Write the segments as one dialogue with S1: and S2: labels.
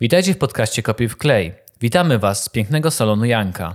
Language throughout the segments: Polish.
S1: Witajcie w podcaście Kopiuj w klej. Witamy Was z pięknego salonu Janka.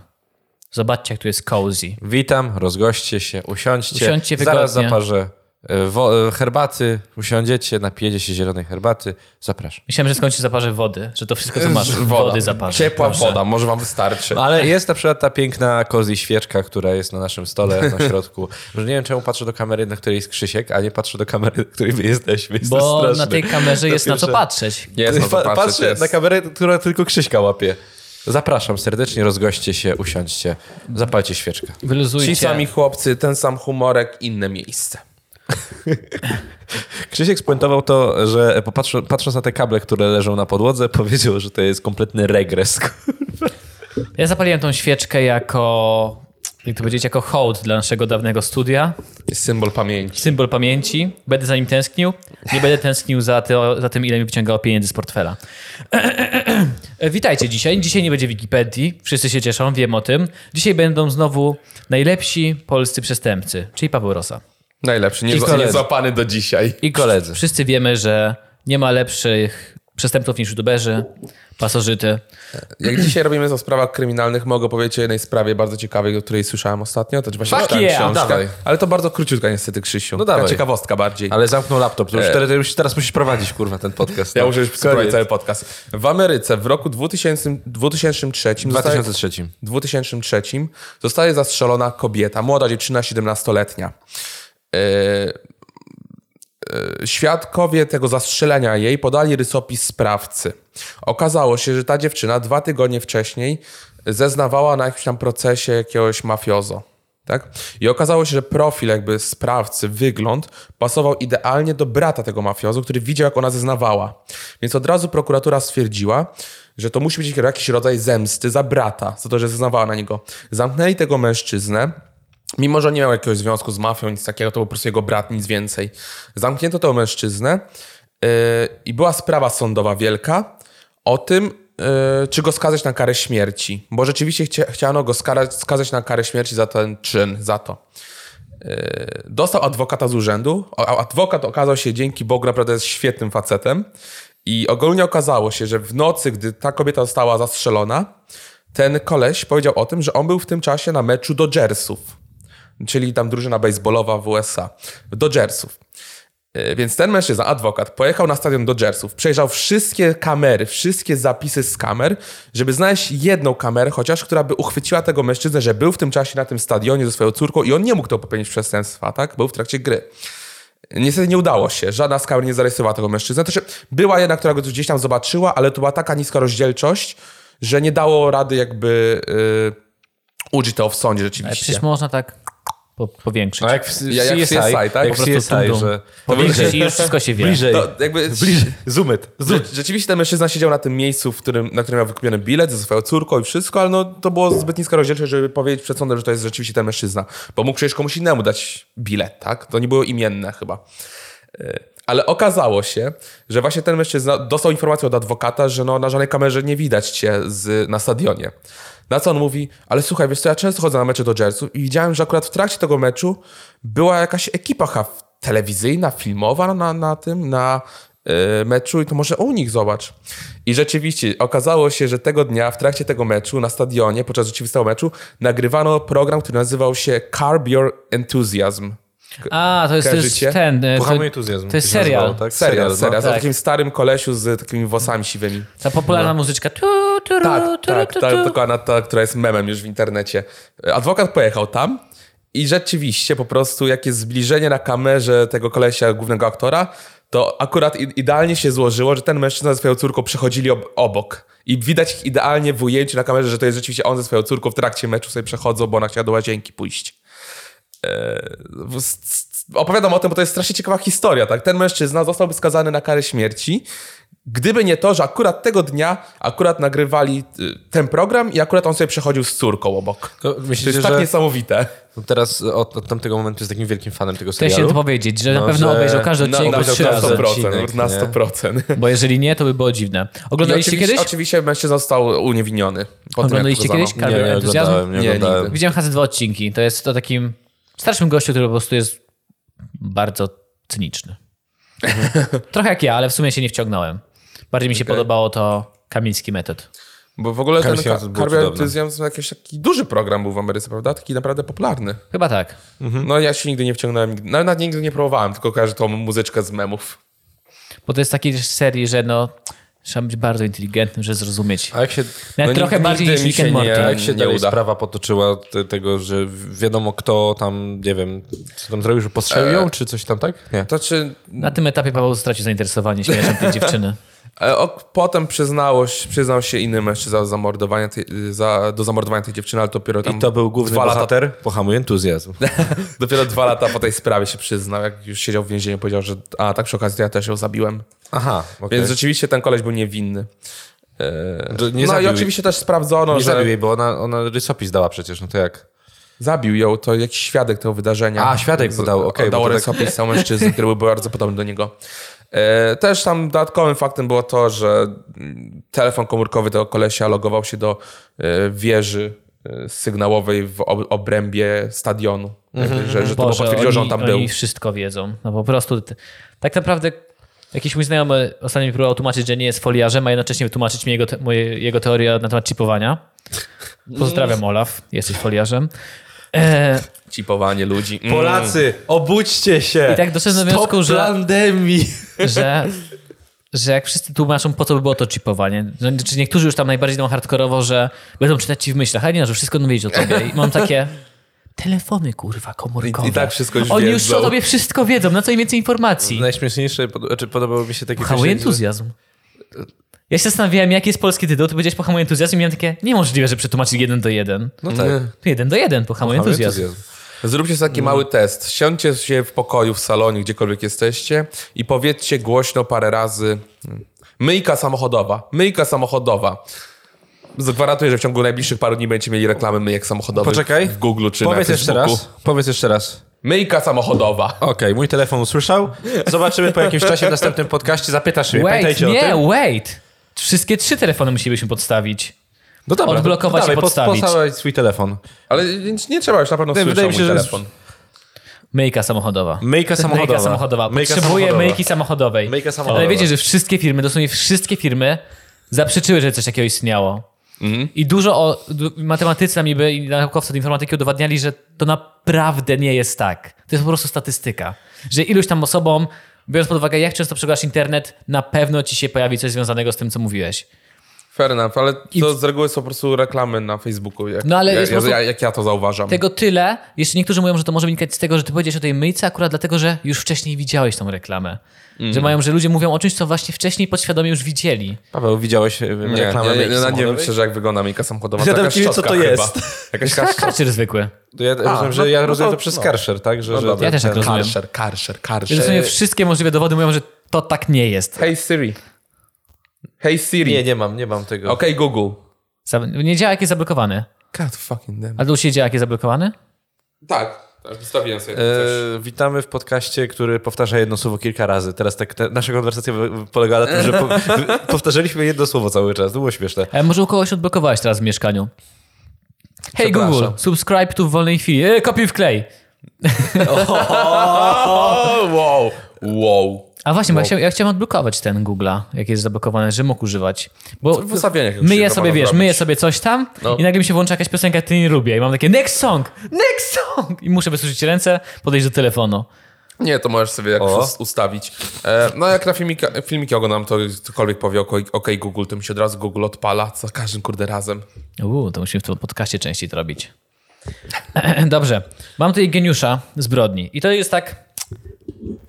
S1: Zobaczcie, jak tu jest cozy.
S2: Witam, rozgoście się, usiądźcie.
S1: Usiądźcie
S2: Zaraz
S1: wygodnie.
S2: zaparzę e, wo- e, herbaty, usiądziecie, napijecie się zielonej herbaty. Zapraszam.
S1: Myślałem, że skąd się zaparzę wody, że to wszystko, co masz,
S2: Woda.
S1: wody zaparzę.
S3: Ciepła
S1: Proszę.
S3: woda, może wam wystarczy.
S2: Ale jest na przykład ta piękna kozi świeczka, która jest na naszym stole na środku. Może nie wiem, czemu patrzę do kamery, na której jest Krzysiek, a nie patrzę do kamery, na której wy jesteśmy. Jest to
S1: Bo
S2: straszne.
S1: na tej kamerze jest na co
S2: pierwsze-
S1: patrzeć.
S3: Nie jest na
S2: Pa-
S3: to
S2: patrzę
S3: patrzeć.
S2: na kamerę, która tylko Krzyśka łapie. Zapraszam serdecznie, rozgoście się, usiądźcie, zapalcie świeczkę.
S1: Wyluzujcie.
S3: Ci sami chłopcy, ten sam humorek, inne miejsce.
S2: Krzysiek spuentował to, że popatrz- patrząc na te kable, które leżą na podłodze, powiedział, że to jest kompletny regres.
S1: Ja zapaliłem tą świeczkę jako, jak to powiedzieć, jako hołd dla naszego dawnego studia.
S3: Jest symbol pamięci.
S1: Symbol pamięci. Będę za nim tęsknił. Nie będę tęsknił za, to, za tym, ile mi wyciągało pieniędzy z portfela. E, Witajcie dzisiaj. Dzisiaj nie będzie Wikipedii. Wszyscy się cieszą, wiem o tym. Dzisiaj będą znowu najlepsi polscy przestępcy, czyli Paweł Rosa.
S3: Najlepszy,
S2: I
S3: nie, za,
S2: koledzy.
S3: nie złapany do dzisiaj.
S1: I
S2: koledzy.
S1: Wszyscy wiemy, że nie ma lepszych przestępców niż youtuberzy, pasożyty.
S3: Jak dzisiaj robimy o sprawach kryminalnych, mogę powiedzieć o jednej sprawie bardzo ciekawej, o której słyszałem ostatnio. To właśnie
S1: Fuck
S3: czytałem
S1: yeah,
S3: książkę.
S2: dawaj.
S3: Ale to bardzo króciutka niestety, Krzysiu.
S2: No
S3: Taka
S2: dawaj.
S3: ciekawostka bardziej.
S2: Ale zamknął laptop, to już,
S3: E.
S2: teraz, już teraz musisz prowadzić, kurwa, ten podcast.
S3: Ja
S2: no.
S3: muszę już
S2: Koniec.
S3: spróbować cały podcast. W Ameryce w roku 2000, 2003
S2: W
S3: zostaje-
S2: 2003.
S3: 2003 zostaje zastrzelona kobieta, młoda dziewczyna 17-letnia. Yy, yy, Świadkowie tego zastrzelenia jej podali rysopis sprawcy. Okazało się, że ta dziewczyna dwa tygodnie wcześniej zeznawała na jakimś tam procesie jakiegoś mafiozo. Tak? I okazało się, że profil jakby sprawcy, wygląd pasował idealnie do brata tego mafiozo, który widział, jak ona zeznawała. Więc od razu prokuratura stwierdziła, że to musi być jakiś rodzaj zemsty za brata, za to, że zeznawała na niego. Zamknęli tego mężczyznę, Mimo, że nie miał jakiegoś związku z mafią, nic takiego, to był po prostu jego brat, nic więcej. Zamknięto tego mężczyznę yy, i była sprawa sądowa wielka o tym, yy, czy go skazać na karę śmierci, bo rzeczywiście chcia, chciano go skarać, skazać na karę śmierci za ten czyn, za to. Yy, dostał adwokata z urzędu, a adwokat okazał się dzięki Bogu naprawdę jest świetnym facetem i ogólnie okazało się, że w nocy, gdy ta kobieta została zastrzelona, ten koleś powiedział o tym, że on był w tym czasie na meczu Dodgersów czyli tam drużyna baseballowa w USA, Dodgersów. Yy, Więc ten mężczyzna, adwokat, pojechał na stadion Dodgersów, przejrzał wszystkie kamery, wszystkie zapisy z kamer, żeby znaleźć jedną kamerę chociaż, która by uchwyciła tego mężczyznę, że był w tym czasie na tym stadionie ze swoją córką i on nie mógł to popełnić przestępstwa, tak? Był w trakcie gry. Niestety nie udało się. Żadna z kamer nie zarejestrowała tego mężczyznę. To się, była jedna, która go tu gdzieś tam zobaczyła, ale to była taka niska rozdzielczość, że nie dało rady jakby yy, użyć tego w sądzie
S1: Ale
S3: rzeczywiście.
S1: przecież można tak po, powiększyć.
S2: jak w,
S3: Ja- jak w CSI, tak?
S2: Jak
S1: Po
S2: w
S1: prostu
S2: CSI,
S1: tum-dum.
S2: No że...
S1: Powiększyć i już wszystko się wie.
S2: Bliżej.
S3: To No, jakby-
S2: bliżej. Zoomet.
S3: Rze- Rzeczywiście ten mężczyzna siedział na tym miejscu, w którym, na którym miał wykupiony bilet ze swoją córką i wszystko, ale no, to było zbyt niska rozdzielczość, żeby powiedzieć przed sądem, że to jest rzeczywiście ten mężczyzna. Bo mógł przecież komuś innemu dać bilet, tak? To nie było imienne chyba. Y, Ale okazało się, że właśnie ten mężczyzna dostał informację od adwokata, że no, na żadnej kamerze nie widać cię z, na stadionie. Na co on mówi, ale słuchaj, wiesz co, ja często chodzę na mecze do Jersey i widziałem, że akurat w trakcie tego meczu była jakaś ekipa haf- telewizyjna, filmowa na, na tym, na e, meczu i to może u nich zobacz. I rzeczywiście okazało się, że tego dnia w trakcie tego meczu na stadionie, podczas rzeczywistego meczu, nagrywano program, który nazywał się Carb Your Enthusiasm.
S1: A, to jest, to jest
S3: Kojarzycie?
S1: ten... e,
S2: Kochamy
S1: To,
S2: entuzjazm.
S1: to jest
S2: się nazywało,
S1: serial.
S2: tak?
S3: Serial,
S2: no.
S3: serial. Z
S1: tak.
S3: takim starym kolesiu z takimi włosami siwymi.
S1: ta popularna muzyczka. Tu, tu,
S3: No. Tak,
S1: tu,
S3: tak,
S1: tu,
S3: tak,
S1: tu.
S3: dokładna ta, która jest memem już w internecie. Adwokat pojechał tam i rzeczywiście po prostu jakie zbliżenie na kamerze tego kolesia, głównego aktora, to akurat i- idealnie się złożyło, że ten mężczyzna ze swoją córką przechodzili ob obok. I widać ich idealnie w ujęciu na kamerze, że to jest rzeczywiście on ze swoją córką w trakcie meczu sobie przechodzą, bo ona chciała do łazienki pójść. W- s- s- opowiadam o tym, bo to jest strasznie ciekawa historia, tak? Ten mężczyzna zostałby skazany na karę śmierci, gdyby nie to, że akurat tego dnia akurat nagrywali y, ten program i akurat on sobie przechodził z córką obok.
S2: To
S3: To
S2: Myślicie,
S3: jest tak
S2: że
S3: niesamowite.
S2: teraz od, od tamtego momentu jest takim wielkim fanem tego
S1: Chciałem się
S2: serialu?
S1: to powiedzieć, że na
S2: No,
S1: pewno
S2: że-
S1: obejrzał każdy
S2: no,
S1: odcinek
S3: Na
S1: no,
S2: obejrzał
S1: trzy
S2: każdy
S1: razy.
S2: odcinek.
S3: 100%. Na
S2: nie?
S3: 100%.
S1: Bo jeżeli nie, to by było dziwne.
S3: I
S1: Oglądaliście
S3: oczywiście,
S1: kiedyś?
S3: oczywiście mężczyzna został uniewinniony. po tym, jak
S1: Oglądaliście
S3: pokazano.
S1: kiedyś?
S2: Nie, nie
S1: Entuzjazm?
S2: oglądałem, nie
S3: Nie, nigdy.
S2: oglądałem.
S1: Widziałem Hase dwa odcinki. To jest o takim starszym gościu, który po prostu jest bardzo
S3: Mhm.
S1: cyniczny. Trochę jak ja, ale w sumie się nie wciągnąłem. Bardziej mi się podobało to Kamiński metod.
S3: Bo w ogóle ten
S2: Kamil Siemens
S3: ka-
S2: był
S3: karbiantyzm to jakiś taki duży program był w Ameryce, prawda? Taki naprawdę popularny.
S1: Chyba tak.
S3: No ja się nigdy nie wciągnąłem, nigdy- nawet nigdy nie próbowałem, tylko kojarzę tą muzyczkę z memów.
S1: Bo to jest takiej też serii, że no, trzeba być bardzo inteligentnym, żeby zrozumieć.
S2: A jak się, no
S1: Nawet
S2: nigdy-
S1: No trochę bardziej
S2: nigdy
S1: niż
S2: mi się
S1: Rick and
S2: nie,
S1: Morty.
S2: Jak się
S3: Nie
S2: dalej
S3: uda.
S2: sprawa potoczyła te, tego, że wi- wiadomo kto tam, nie wiem, co tam zrobił, że postrzelił ją, czy coś tam, tak? Nie.
S3: E, To czy
S1: Na tym etapie Paweł stracił zainteresowanie śmiercią tej dziewczyny.
S3: E, O, potem przyznało, się- przyznał się inny mężczyzna za zamordowanie tej, za, do zamordowania tej dziewczyny, ale dopiero tam
S2: I to był główny
S3: dwa lata,
S2: bohater. Pohamuj entuzjazm.
S3: dopiero dwa lata po tej sprawie się przyznał, jak już siedział w więzieniu, powiedział, że a tak przy okazji to ja też ją zabiłem.
S2: Aha, okej.
S3: Więc rzeczywiście ten koleś był niewinny. E,
S2: To Tak. nie
S3: no
S2: zabił
S3: i oczywiście też sprawdzono,
S2: Nie
S3: że
S2: zabił jej, bo ona, ona rysopis dała przecież, no to jak?
S3: zabił ją, to jakiś świadek tego wydarzenia.
S2: A, świadek podał, okej, bo
S3: Dał
S2: to tak-
S3: rysopis tak... mężczyzny, który był bardzo podobny do niego. E, Też tam dodatkowym faktem było to, że mm, telefon komórkowy tego kolesia logował się do e, wieży e, sygnałowej w ob- obrębie stadionu. Jakby,
S2: Mhm,
S3: Że, że to było
S1: Boże,
S3: potwierdziło,
S1: oni,
S3: że on tam był.
S1: oni wszystko wiedzą. No po prostu. T- tak naprawdę jakiś mój znajomy ostatnio mi próbował tłumaczyć, że nie jest foliarzem, a jednocześnie wytłumaczyć mi jego, te, moje, jego teorię na temat chipowania. Pozdrawiam Olaf, jesteś foliarzem. E,
S3: Cipowanie ludzi. Mm.
S2: Polacy, obudźcie się!
S1: I tak doszedłem do wniosku, że-
S2: pandemii!
S1: że, że jak wszyscy tłumaczą, po co by było to chipowanie. No, Czy niektórzy już tam najbardziej idą hardkorowo, że będą czytać ci w myślach, a nie, że wszystko wiedzieć o tobie. I mam takie... Telefony, kurwa, komórkowe.
S3: I- i tak wszystko już
S1: Oni już
S3: wiedzą.
S1: o tobie wszystko wiedzą, na co im więcej informacji.
S2: Najśmieszniejsze, pod, znaczy podobało mi się takie...
S1: Pohamuj entuzjazm. Ja się zastanawiałem, jaki jest polski tytuł, to powiedziałeś pohamuj entuzjazm i miałem takie, niemożliwe, że przetłumaczyć jeden do jeden.
S2: No tak.
S1: To jeden do jeden, pohamuj
S2: Pohamuj
S1: entuzjazm.
S3: Zróbcie sobie taki mały test. Siądźcie się w pokoju, w salonie, gdziekolwiek jesteście i powiedzcie głośno parę razy "Mm, myjka samochodowa, myjka samochodowa. Zagwarantuję, że w ciągu najbliższych paru dni będziecie mieli reklamy myjek samochodowych
S2: Poczekaj.
S3: w Google czy
S2: Powiedz
S3: na
S2: jeszcze
S3: Facebooku.
S2: raz. Powiedz jeszcze raz.
S3: Myjka samochodowa.
S2: Okej, mój telefon usłyszał. Zobaczymy po jakimś czasie w następnym podcaście. Zapytasz mnie,
S1: Wait,
S2: pamiętajcie o
S1: nie,
S2: tym.
S1: wait. Wszystkie trzy telefony musielibyśmy podstawić.
S2: No dobra, to-
S1: Odblokować
S2: to
S1: i
S2: dawaj, pod-
S1: podstawić.
S2: Podstawić swój telefon.
S3: Ale nie, nie trzeba już na pewno
S2: Nie,
S3: słyszał
S2: wydaje mi się,
S3: mój
S2: że-
S3: telefon.
S1: Myjka samochodowa.
S2: Myjka samochodowa.
S1: Myjka samochodowa.
S2: Myjka
S1: Potrzebuję
S2: samochodowa.
S1: myjki samochodowej.
S2: Myjka samochodowa.
S1: Ale wiecie, że wszystkie firmy, dosłownie wszystkie firmy zaprzeczyły, że coś takiego istniało. I dużo o d- matematycy tam niby i naukowcy od informatyki udowadniali, że to naprawdę nie jest tak. To jest po prostu statystyka. Że iluś tam osobom, biorąc pod uwagę jak często przeglądasz internet, na pewno ci się pojawi coś związanego z tym, co mówiłeś.
S3: Fair enough, ale to
S1: I-
S3: z reguły są po prostu reklamy na Facebooku. Jak,
S1: No, ale
S3: ja,
S1: jest
S3: ja,
S1: po prostu-
S3: ja, jak ja to zauważam.
S1: Tego tyle. Jeszcze niektórzy mówią, że to może wynikać z tego, że ty powiedziałeś o tej myjce akurat dlatego, że już wcześniej widziałeś tą reklamę.
S3: Mhm.
S1: Że mają, że ludzie mówią o czymś, co właśnie wcześniej podświadomie już widzieli.
S2: Paweł, widziałeś e, reklamę
S3: Nie, ja,
S2: myjki
S3: ja, ja nie wiem
S2: samochodowej?
S3: szczerze, jak wygląda myjka samochodowa.
S2: Zadam
S3: Taka
S2: ci, co
S3: szczotka
S2: to
S3: chyba.
S2: jest.
S3: Jakaś
S1: Ka-
S3: kaszczotka.
S1: Karczer zwykły.
S2: To Ja rozumiem, że
S3: no-
S2: ja
S3: no
S2: rozumiem
S3: to-
S2: to przez
S3: no.
S2: Karcher, tak? Że,
S3: No
S2: że
S3: dobra.
S1: Ja też tak rozumiem.
S3: Karszer, karszer,
S1: Że w sumie
S3: karszer.
S1: wszystkie możliwe dowody mówią, że to tak nie jest.
S3: Hey Siri. Hey Siri.
S2: Nie, nie mam, nie mam tego.
S3: Okej Google.
S1: Za- Nie działa, jak jest zablokowany.
S3: God fucking damn.
S1: A to u Ciebie działa, jak jest zablokowany?
S3: Tak, tak, zostawiłem sobie
S2: E, witamy w podcaście, który powtarza jedno słowo kilka razy. Teraz tak, te, nasza konwersacja wy- polegała na tym, że po, wy- powtarzaliśmy jedno słowo cały czas. To było śmieszne.
S1: E, może u kogoś odblokowałeś teraz w mieszkaniu. Hey
S3: Przepraszam.
S1: Google, subscribe tu w wolnej chwili. E, kopiuj w klej.
S3: O, wow. Wow.
S1: A właśnie, bo ja, chciałem, ja chciałem odblokować ten Google'a, jak jest zablokowany, że mógł używać. Bo
S3: W ustawieniach już
S1: myję
S3: się No.
S1: sobie,
S3: to
S1: wiesz,
S3: można
S1: myję
S3: zrobić.
S1: sobie coś tam i nagle mi się włącza jakaś piosenka, ty nie lubię. I mam takie next song, next song. I muszę wysuszyć ręce, podejść do telefonu.
S3: Nie, to możesz sobie jakoś
S2: O.
S3: us- ustawić. E, no jak na filmika, filmiki oglądam, to cokolwiek powie OK, OK Google, to mi się od razu Google odpala za każdym kurde razem.
S1: Uuu, to musimy w tym podcaście częściej to robić. Dobrze. Mam tutaj geniusza zbrodni. I to jest tak.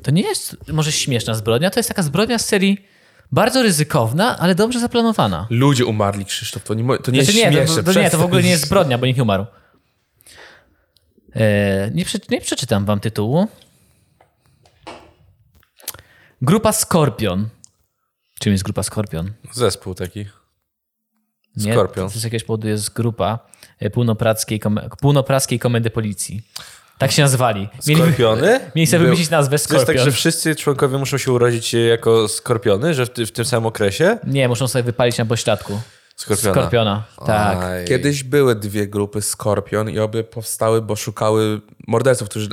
S1: To nie jest może śmieszna zbrodnia, to jest taka zbrodnia z serii bardzo ryzykowna, ale dobrze zaplanowana.
S3: Ludzie umarli, Krzysztof, to nie, mo- to nie
S1: Znaczy
S3: jest
S1: nie,
S3: śmieszne.
S1: to, to, to nie, to w
S3: przestań.
S1: ogóle nie jest zbrodnia, bo nikt nie umarł. E, nie, prze, nie przeczytam wam tytułu. Grupa Skorpion. Czym jest grupa Skorpion?
S2: Zespół taki.
S1: Nie,
S2: Skorpion.
S1: To z jakiegoś powodu jest grupa e, półnopraskiej, kom- półnopraskiej komendy policji. Tak się nazwali. Mieli,
S2: Skorpiony?
S1: mieli sobie wymyślić nazwę
S2: To jest tak,
S1: Skorpion.
S2: że wszyscy członkowie muszą się urodzić jako skorpiony, że w, ty, w tym samym okresie?
S1: Nie, muszą sobie wypalić na pośladku.
S2: Skorpiona.
S1: Skorpiona, tak.
S2: Aj.
S3: Kiedyś były dwie grupy Skorpion i obie powstały, bo szukały morderców, którzy,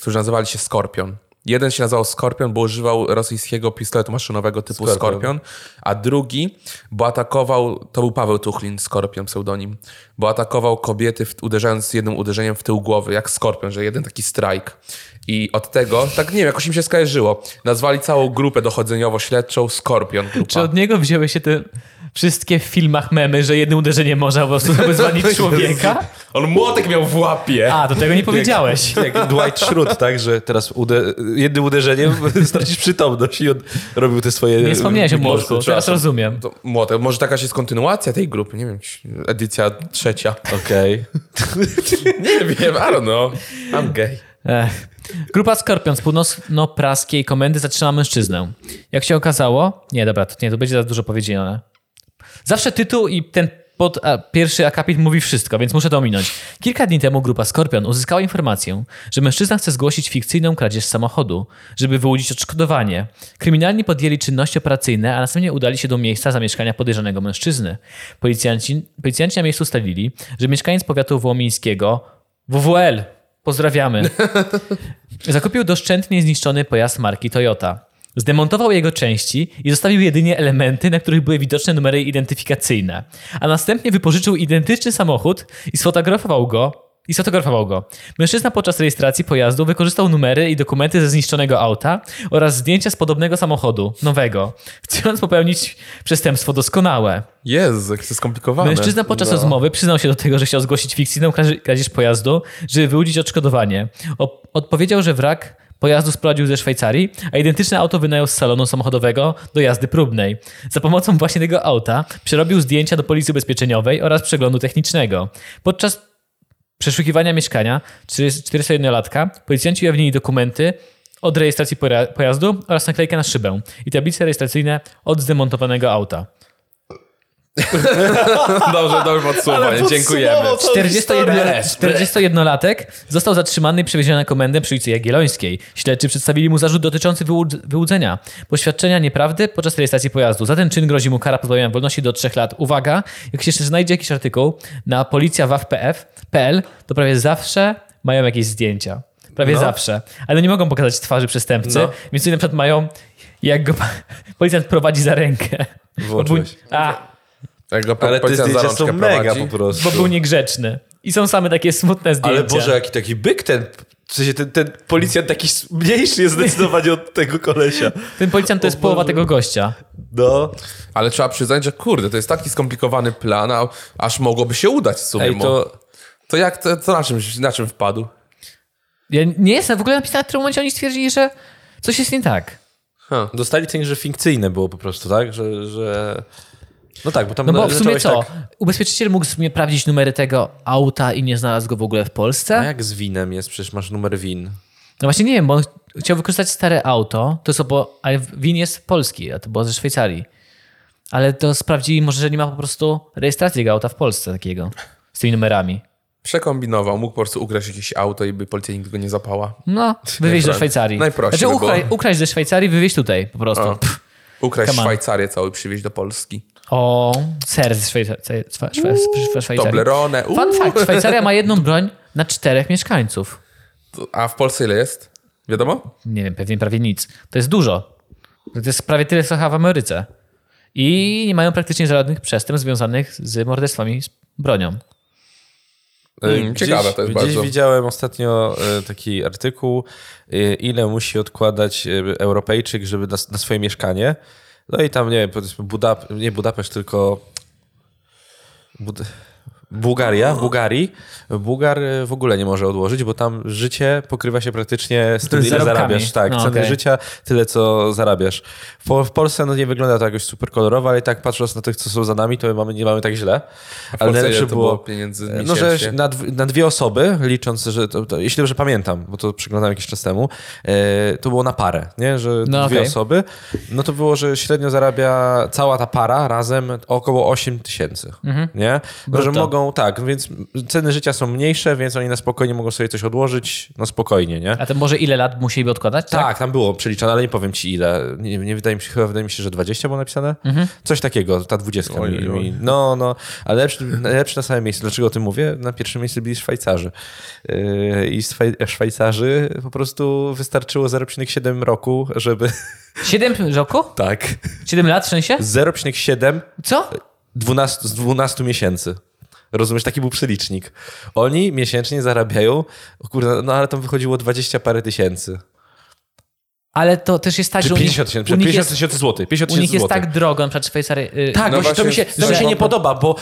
S3: którzy nazywali się Skorpion. Jeden się nazywał Skorpion, bo używał rosyjskiego pistoletu maszynowego typu Skorpion,
S2: Skorpion.
S3: a drugi, bo atakował, to był Paweł Tuchlin, Skorpion pseudonim, bo atakował kobiety w, uderzając jednym uderzeniem w tył głowy, jak Skorpion, że jeden taki strajk. I od tego, tak nie wiem, jakoś im się skojarzyło, nazwali całą grupę dochodzeniowo-śledczą Skorpion
S1: Czy
S3: grupa.
S1: od niego wzięły się te wszystkie w filmach memy, że jednym uderzeniem można po prostu
S2: No
S1: wyzwanić człowieka?
S3: On młotek miał w łapie.
S1: A, to tego nie powiedziałeś.
S2: Jak Dwight Schrute, tak, że teraz ude- jednym uderzeniem stracisz przytomność i on robił te swoje...
S1: Nie wspomniałeś o
S2: Big Bossy
S1: młotku,
S2: Trashy.
S1: teraz rozumiem.
S3: To młotek, może taka jest kontynuacja tej grupy, nie wiem, edycja trzecia.
S2: Okej.
S3: Nie wiem, I don't know. I'm gay.
S1: Ech. Grupa Skorpion z północno-praskiej komendy zatrzyma mężczyznę. Jak się okazało... Nie, dobra, to, nie, to będzie za dużo powiedziane. Zawsze tytuł i ten pod, a, pierwszy akapit mówi wszystko, więc muszę to ominąć. Kilka dni temu grupa Skorpion uzyskała informację, że mężczyzna chce zgłosić fikcyjną kradzież samochodu, żeby wyłudzić odszkodowanie. Kryminalni podjęli czynności operacyjne, a następnie udali się do miejsca zamieszkania podejrzanego mężczyzny. Policjanci, policjanci na miejscu ustalili, że mieszkaniec powiatu wołomińskiego WWL, pozdrawiamy, Zakupił doszczętnie zniszczony pojazd marki Toyota. Zdemontował jego części i zostawił jedynie elementy, na których były widoczne numery identyfikacyjne, a następnie wypożyczył identyczny samochód i sfotografował go. I sfotografował go. Mężczyzna podczas rejestracji pojazdu wykorzystał numery i dokumenty ze zniszczonego auta oraz zdjęcia z podobnego samochodu, nowego, chcąc popełnić przestępstwo doskonałe.
S3: Jezu, jak to skomplikowane.
S1: Mężczyzna podczas
S3: No.
S1: rozmowy przyznał się do tego, że chciał zgłosić fikcyjną kradzie- kradzież pojazdu, żeby wyłudzić odszkodowanie. O, odpowiedział, że wrak pojazdu sprowadził ze Szwajcarii, a identyczne auto wynajął z salonu samochodowego do jazdy próbnej. Za pomocą właśnie tego auta przerobił zdjęcia do policji ubezpieczeniowej oraz przeglądu technicznego. Podczas przeszukiwania mieszkania 41-latka policjanci ujawnili dokumenty od rejestracji poja- pojazdu oraz naklejkę na szybę i tablice rejestracyjne od zdemontowanego auta.
S3: Dobrze, dobrze podsumowanie, dziękujemy.
S1: 41 41-latek został zatrzymany i przewieziony na komendę przy ulicy Jagiellońskiej. Śledczy przedstawili mu zarzut dotyczący wyłud- wyłudzenia, poświadczenia nieprawdy podczas rejestracji pojazdu. Za ten czyn grozi mu kara pozbawienia wolności do 3 lat. Uwaga, jak się jeszcze znajdzie jakiś artykuł na policjawaw.pl, to prawie zawsze mają jakieś zdjęcia. Prawie
S3: No.
S1: zawsze. Ale nie mogą pokazać twarzy przestępcy,
S3: No.
S1: więc oni na przykład mają, jak go pa- policjant prowadzi za rękę.
S2: Włączyłeś.
S1: A,
S3: Tego
S2: Ale te
S3: policjant za
S2: zdjęcia są
S3: rączkę
S2: mega
S3: prowadzi.
S2: po prostu.
S1: bo był niegrzeczny. I są same takie smutne zdjęcia.
S2: Ale Boże, jaki taki byk ten... W sensie ten, ten policjant taki mniejszy jest zdecydowanie od tego kolesia.
S1: Ten policjant to jest połowa tego gościa.
S2: No.
S3: Ale trzeba przyznać, że kurde, to jest taki skomplikowany plan, a, aż mogłoby się udać w sumie.
S2: Ej,
S3: to...
S2: to...
S3: to jak, to, to na, czym, na czym wpadł?
S1: Ja nie jestem w ogóle napisane, w którym momencie oni stwierdzili, że coś jest nie tak.
S3: Huh.
S2: Dostali ten, że fikcyjne było po prostu, tak? Że... że... No tak, bo tam
S1: No bo
S2: na-
S1: w sumie
S2: zacząłeś
S1: co?
S2: Tak,
S1: Ubezpieczyciel mógł sobie sprawdzić numery tego auta i nie znalazł go w ogóle w
S2: a
S1: Polsce?
S2: jak z winem jest? Przecież masz numer win.
S1: No właśnie nie wiem, bo on ch- chciał wykorzystać stare auto, to co, bo ale win jest polski, a to było ze Szwajcarii. Ale to sprawdzili może, że nie ma po prostu rejestracji tego auta w Polsce takiego. Z tymi numerami.
S3: Przekombinował, mógł po prostu ukraść jakieś auto i by policja nigdy go nie zapała.
S1: No, wywieźć do
S3: Najpro-
S1: Szwajcarii.
S3: najprościej
S1: Znaczy
S3: by było.
S1: ukra- ukraść ze Szwajcarii, wywieźć tutaj po prostu.
S3: O. Ukraść
S1: Come on.
S3: Szwajcarię cały, przywieźć do Polski.
S1: O, ser z Szwajca- Szwe- Szwe- Szwe- Szwe- Szwajcarii.
S3: Toblerone. uuu.
S1: Fun fact, Szwajcaria ma jedną broń na czterech mieszkańców.
S3: A w Polsce ile jest? Wiadomo?
S1: Nie wiem, pewnie prawie nic. To jest dużo. To jest prawie tyle, co w Ameryce. I nie mają praktycznie żadnych przestępstw związanych z morderstwami z bronią.
S3: Mm, ciekawe to jest
S2: E, No gdzieś
S3: bardzo.
S2: widziałem ostatnio e, taki artykuł, e, ile musi odkładać e, Europejczyk, żeby na, na swoje mieszkanie. No i tam, nie wiem, powiedzmy Budap nie Budapeszt, tylko Bud Bułgaria, w Bułgarii. Bułgar e, w ogóle nie może odłożyć, bo tam życie pokrywa się praktycznie z tym,
S1: Z
S2: ile
S1: zarobkami.
S2: zarabiasz. Tak,
S1: No,
S2: ceny
S1: okej.
S2: życia, tyle co zarabiasz. W, po- w Polsce no, nie wygląda to jakoś super kolorowo, ale i tak patrząc na tych, co są za nami, to my mamy, nie mamy tak źle. Ale
S3: Polsce ile
S2: najlepsze
S3: to było
S2: było
S3: pieniędzy
S2: no, że
S3: miesięcznie?
S2: na, dw- na dwie osoby, licząc, że to, to, jeśli dobrze pamiętam, bo to przeglądałem jakiś czas temu, e, to było na parę, nie? że
S1: No,
S2: dwie
S1: okej.
S2: osoby, no to było, że średnio zarabia cała ta para razem około 8 tysięcy, nie? No, że
S1: Mhm. Brutto.
S2: mogą są, tak, więc ceny życia są mniejsze, więc oni na spokojnie mogą sobie coś odłożyć, no spokojnie, nie?
S1: A to może ile lat musieliby odkładać?
S2: Tak, tam było przeliczane, ale nie powiem ci ile. Nie, nie wydaje mi się, chyba wydaje mi się, że 20 było napisane.
S1: Mhm.
S2: Coś takiego, ta 20.
S3: Oj,
S2: mi,
S3: oj.
S2: Mi, no, no, ale lepszy, lepszy na samym miejscu. Dlaczego o tym mówię? Na pierwszym miejscu byli Szwajcarzy. Yy, I Szwaj- Szwajcarzy po prostu wystarczyło 0,7 roku, żeby...
S1: 7 roku?
S2: Tak.
S1: 7 lat w sensie?
S2: 0,7
S1: Co?
S2: 12, z 12 miesięcy. Rozumiesz, taki był przelicznik. Oni miesięcznie zarabiają, o kurde, no ale tam wychodziło 20 parę tysięcy.
S1: Ale to też jest tak,
S2: Czy
S1: że u nich,
S2: 50 tysięcy,
S1: u nich
S2: 50
S1: jest,
S2: tysięcy złotych. 50
S1: u nich
S2: tysięcy
S1: jest
S2: złotych.
S1: tak drogo, na przykład Szwajcaria... y,
S2: Tak,
S3: No
S2: właśnie, to mi się,
S3: właśnie,
S2: to mi się nie podoba, bo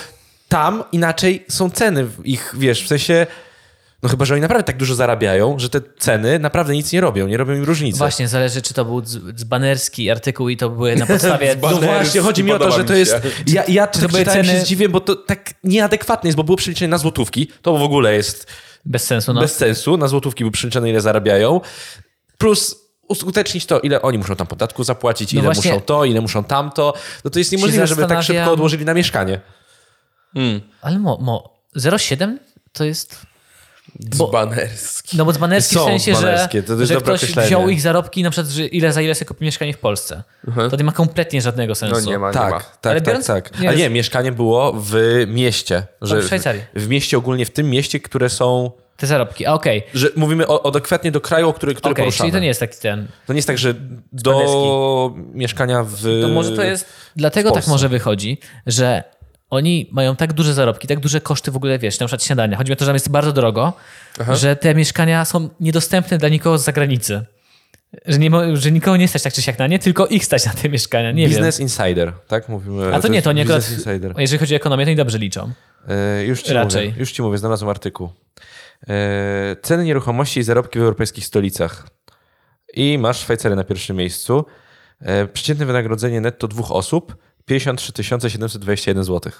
S2: tam inaczej są ceny w ich, wiesz, w sensie, no chyba, że oni naprawdę tak dużo zarabiają, że te ceny naprawdę nic nie robią, nie robią im różnicy.
S1: Właśnie, zależy czy to był dz- dzbanerski artykuł i to były na podstawie...
S2: No
S3: Banery,
S2: właśnie, chodzi mi o to,
S3: podoba
S2: że
S3: mi
S2: to
S3: się.
S2: jest. Ja, ja to
S1: były
S2: Tak czytałem
S1: ceny-
S2: się zdziwiłem, bo to tak nieadekwatne jest, bo było przeliczenie na złotówki. To w ogóle jest
S1: Bez sensu, no.
S2: bez sensu. Na złotówki było przeliczone, ile zarabiają. Plus uskutecznić to, ile oni muszą tam podatku zapłacić,
S1: No
S2: ile
S1: właśnie-
S2: muszą to, ile muszą tamto. No to jest niemożliwe, żeby tak
S1: zastanawiam-
S2: szybko odłożyli na mieszkanie.
S1: Ale mo, mo 0,7 to jest... Bo-
S3: Banerski.
S1: No bo dzbanerski w
S2: Są
S1: sensie, że,
S2: dzbanerskie, to jest
S1: że
S2: dobre
S1: ktoś
S2: określenie.
S1: wziął ich zarobki, na przykład że ile za ile sobie kupi mieszkanie w Polsce.
S2: Mhm.
S1: To nie ma kompletnie żadnego sensu.
S3: No nie ma, nie
S2: Tak,
S3: ma.
S2: tak,
S1: Ale
S2: tak,
S1: biorąc-
S2: tak.
S1: nie,
S2: A
S1: że-
S2: nie, mieszkanie było w mieście. Że
S1: w Szwajcarii.
S2: W, w mieście ogólnie, w tym mieście, które są...
S1: Te zarobki, a okej.
S2: Że mówimy o, adekwatnie do kraju, o który, który
S1: Okej,
S2: poruszamy.
S1: czyli to nie jest taki ten...
S2: To nie jest tak, że do mieszkania w.
S1: To No może to jest.
S2: Y, w
S1: Dlatego tak
S2: Polsce.
S1: może wychodzi, że oni mają tak duże zarobki, tak duże koszty w ogóle, wiesz, na przykład śniadania. Chodzi mi o to, że tam jest bardzo drogo, że te mieszkania są niedostępne dla nikogo z zagranicy. Że, nie, mo- że nikogo nie stać tak czy siak na nie, tylko ich stać na te mieszkania. Nie
S2: Business Insider, tak mówimy.
S1: wiem. A to, nie,
S2: jest
S1: to nie akurat,
S2: Business Insider.
S1: jeżeli chodzi o ekonomię, to i dobrze liczą.
S2: E, już, ci
S1: Raczej.
S2: Mówię, już ci mówię, znalazłem artykuł. E, ceny nieruchomości i zarobki w europejskich stolicach. I masz Szwajcarię na pierwszym miejscu. E, przeciętne wynagrodzenie netto dwóch osób 53 721 zł.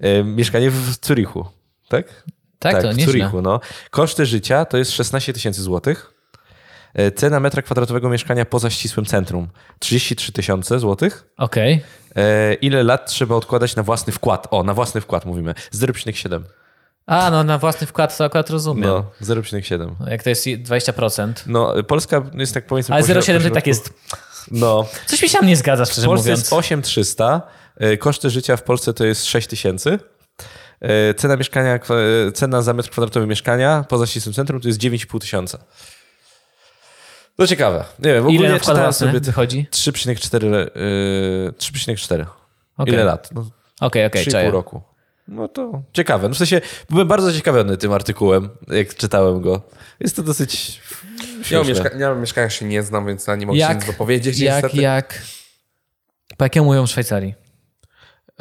S2: E, mieszkanie w Zurichu, tak?
S1: Tak, to
S2: w
S1: nieźle.
S2: Zurichu, no. Koszty życia to jest 16 tysięcy złotych. E, Cena metra kwadratowego mieszkania poza ścisłym centrum 33 tysiące złotych.
S1: Okej.
S2: E, Ile lat trzeba odkładać na własny wkład? O, na własny wkład mówimy. 0,7.
S1: A, no na własny wkład to akurat rozumiem.
S2: No, 0,7.
S1: Jak to jest 20%.
S2: No, Polska jest tak powiedzmy...
S1: Ale
S2: poziom-
S1: 0,7 to
S2: poziom-
S1: tak jest.
S2: No,
S1: Coś mi się tam nie zgadza, szczerze
S2: w Polsce
S1: mówiąc.
S2: jest 8300. e, Koszty życia w Polsce to jest 6000. E, Cena mieszkania, kwa- e, cena za metr kwadratowy mieszkania poza ścisłym centrum to jest 9,5 tysiąca. To ciekawe. Nie wiem, w ogóle
S1: Ile na
S2: nie
S1: wkład
S2: czytałem
S1: własny
S2: sobie...
S1: wychodzi?
S2: 3,4 le- e, 3,4.
S1: Okej.
S2: Ile lat? No,
S1: Okej, okej,
S2: 3,5
S1: czaję.
S2: roku. No to ciekawe. No w sensie byłem bardzo ciekawiony tym artykułem, jak czytałem go. Jest to dosyć
S3: Ja o,
S2: śmieszne.
S3: mieszka- ja o mieszkaniach się nie znam, więc na nie mogę się nic dopowiedzieć
S1: Jak,
S3: niestety.
S1: jak. Po jakiemu mówią w Szwajcarii?